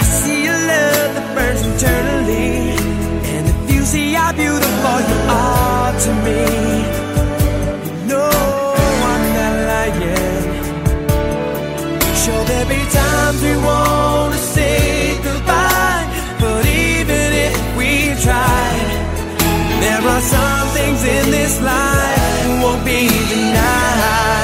Speaker 10: I see a love that burns eternally. And if you see how beautiful you are to me, you know I'm not lying. Sure, there'll be times we wanna say goodbye, but even if we try, there are some things in this. this life won't be denied. Oh,